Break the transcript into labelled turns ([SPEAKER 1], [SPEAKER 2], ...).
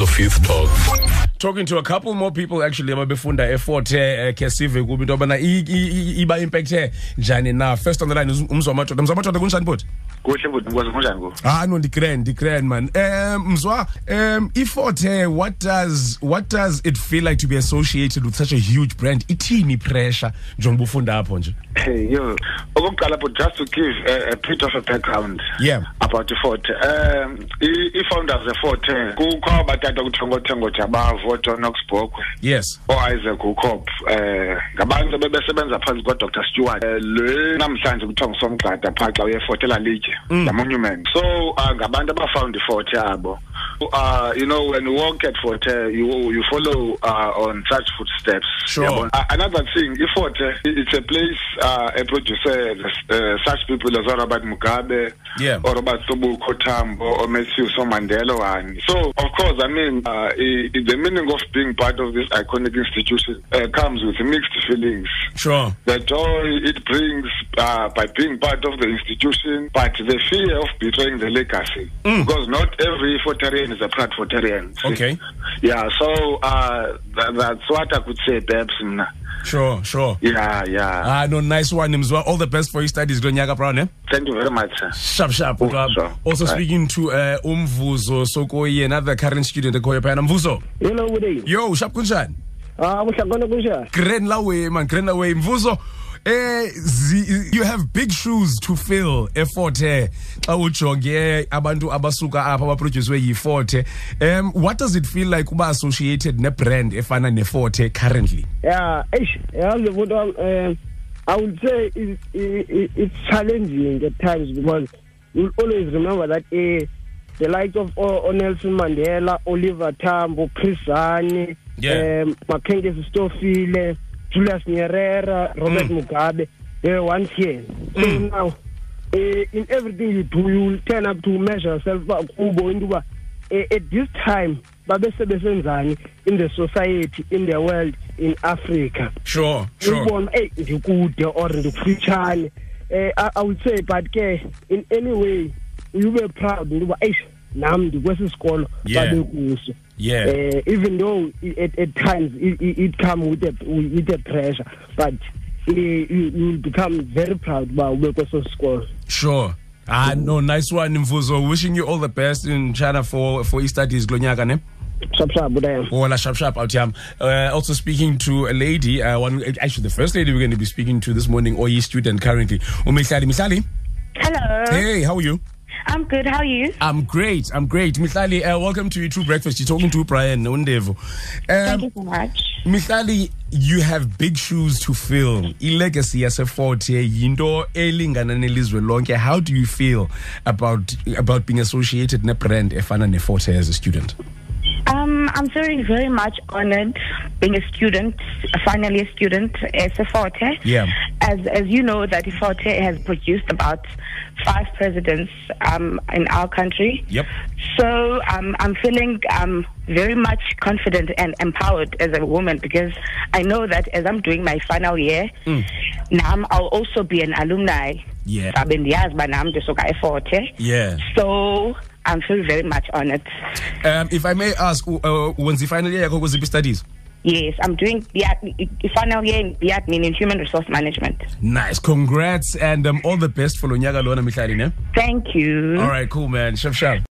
[SPEAKER 1] of fifth dog
[SPEAKER 2] talking to a couple more people actually ababefunda e-forte eh, khe sive kuba into yobana i- i- i- iba impacthe njani na first on the line is um- umzwamadoda mzwamadoda kunjani bhuti
[SPEAKER 3] kuhle futhi ukwazi kunjani ku
[SPEAKER 2] ah no ndikren ndikren man um mzwa um i-forte what does what does it feel like to be associated with such a huge brand ithini ipressure njengoba ufunda apho nje
[SPEAKER 3] Hey, yo okokuqala but just to give a, a bit of a background
[SPEAKER 2] Yeah.
[SPEAKER 3] about iforte um i- i-founders eforte kukho abatata kuthengothengo jabavo john oxbokwe
[SPEAKER 2] yes
[SPEAKER 3] o-isaac ucop um ngabantu bebesebenza phansi kwadr stewart um le namhlanje kuthiwa ngusomgxada phaa xa uyeforte elalitye
[SPEAKER 2] Mm.
[SPEAKER 3] lamonument so uh, ngabantu abafoundi iforte abo uh, you know when you work at forte you, you follow uh, on such footsteps
[SPEAKER 2] Sure.
[SPEAKER 3] Yabona? Uh, another thing, Iforte, i- it's a place uh, a producer uh, such people as Robert Mugabe,
[SPEAKER 2] Yeah.
[SPEAKER 3] or Robert Sobukwe Tambo, or Matthew Somandelo. And so, of course, I mean, uh, i- i- the meaning of being part of this iconic institution uh, comes with mixed feelings.
[SPEAKER 2] sure
[SPEAKER 3] The joy it brings uh, by being part of the institution, but the fear of betraying the legacy. Because not every Forterian is a proud Forterian.
[SPEAKER 2] Mm. Okay.
[SPEAKER 3] Yeah, so uh, th- that's what I could say, perhaps. Mna.
[SPEAKER 2] sure sure
[SPEAKER 3] Yeah, yeah.
[SPEAKER 2] ah no nice one mzwa all the best for your studies kulo nyaka brown eh
[SPEAKER 3] Thank you very much, sir.
[SPEAKER 2] sharp sharp
[SPEAKER 3] Oh, sure.
[SPEAKER 2] also
[SPEAKER 3] Right.
[SPEAKER 2] speaking to uh, umvuzo sokoye another current student ekhoyo phayana mvuzo
[SPEAKER 4] Hello, good day.
[SPEAKER 2] yo sharp kunjani
[SPEAKER 4] Ah, kuhlangana kunjani?
[SPEAKER 2] grand laway man grand laway mvuzo eh zi, you have big shoes to fill eforte xa ujonge eh, abantu abasuka apha abaproducwe yiforte um what does it feel like uba associated nebrand efana neforte currently
[SPEAKER 4] Yeah, eish, yazi umuntu wami eh I would say it, it, it, it's challenging at times because you'll always remember that eh, the likes of oh, Nelson Mandela, Oliver Tambo, Chris Hani,
[SPEAKER 2] Yeah.
[SPEAKER 4] um, Makengezi Stofile, Julius Nyerere, Robert
[SPEAKER 2] Mm.
[SPEAKER 4] Mugabe, they were once here. So now, eh, in everything you do, you will turn up to measure yourself uba kubo into uba eh, at this time babesebenzani in the society, in the world, in Africa.
[SPEAKER 2] sure
[SPEAKER 4] Ubone, hey, ndikude or ndikufutshane. Eh, I, I would say, but ke, in any way, you were proud into uba, eish, nam ndikwesi sikolo
[SPEAKER 2] Yeah.
[SPEAKER 4] babekuso.
[SPEAKER 2] yeah
[SPEAKER 4] Uh, even though i- at, at times it, it, it comes with a, with a pressure, but uh, you, you become very proud about Wekoso score.
[SPEAKER 2] Sure. Ah no, nice one Mvuzo. Wishing you all the best in China for for your studies glonyaka ne.
[SPEAKER 4] Sharp, sharp, Budaya.
[SPEAKER 2] Ola sharp sharp out yam. Uh, also speaking to a lady, uh, one actually the first lady we're going to be speaking to this morning or student currently. Umihlali Mihlali.
[SPEAKER 5] Hello.
[SPEAKER 2] Hey, how are you?
[SPEAKER 5] I'm good. How are you?
[SPEAKER 2] I'm great. I'm great. Mihlali, uh, welcome to your True Breakfast. You're talking to Brian Undevo.
[SPEAKER 5] Thank
[SPEAKER 2] Um
[SPEAKER 5] you so much.
[SPEAKER 2] Mihlali, you have big shoes to fill. I-legacy yase-40 yinto elingana nelizwe lonke. How do you feel about about being associated nebrand efana ne-40 as a student?
[SPEAKER 5] Um, I'm feeling very much honored being a student, finally a student as a Forte.
[SPEAKER 2] Yeah.
[SPEAKER 5] As as you know that Forte has produced about five presidents um, in our country.
[SPEAKER 2] Yep.
[SPEAKER 5] So um, I'm feeling um, very much confident and empowered as a woman because I know that as I'm doing my final year, now I'll also be an alumni.
[SPEAKER 2] Mm. Yeah.
[SPEAKER 5] Sabe ndiyazi uba nam ndisoka eForte.
[SPEAKER 2] Yeah.
[SPEAKER 5] So I'm feeling very much honored.
[SPEAKER 2] Um, if I may ask, u- uh, when's the final year yakho kuziphi studies?
[SPEAKER 5] Yes, I'm doing the final year in the admin in human resource management.
[SPEAKER 2] Nice. Congrats and um, all the best for lo nyaka lona Mihlali, ne?
[SPEAKER 5] Thank you.
[SPEAKER 2] All right, cool, man. Shop, shop.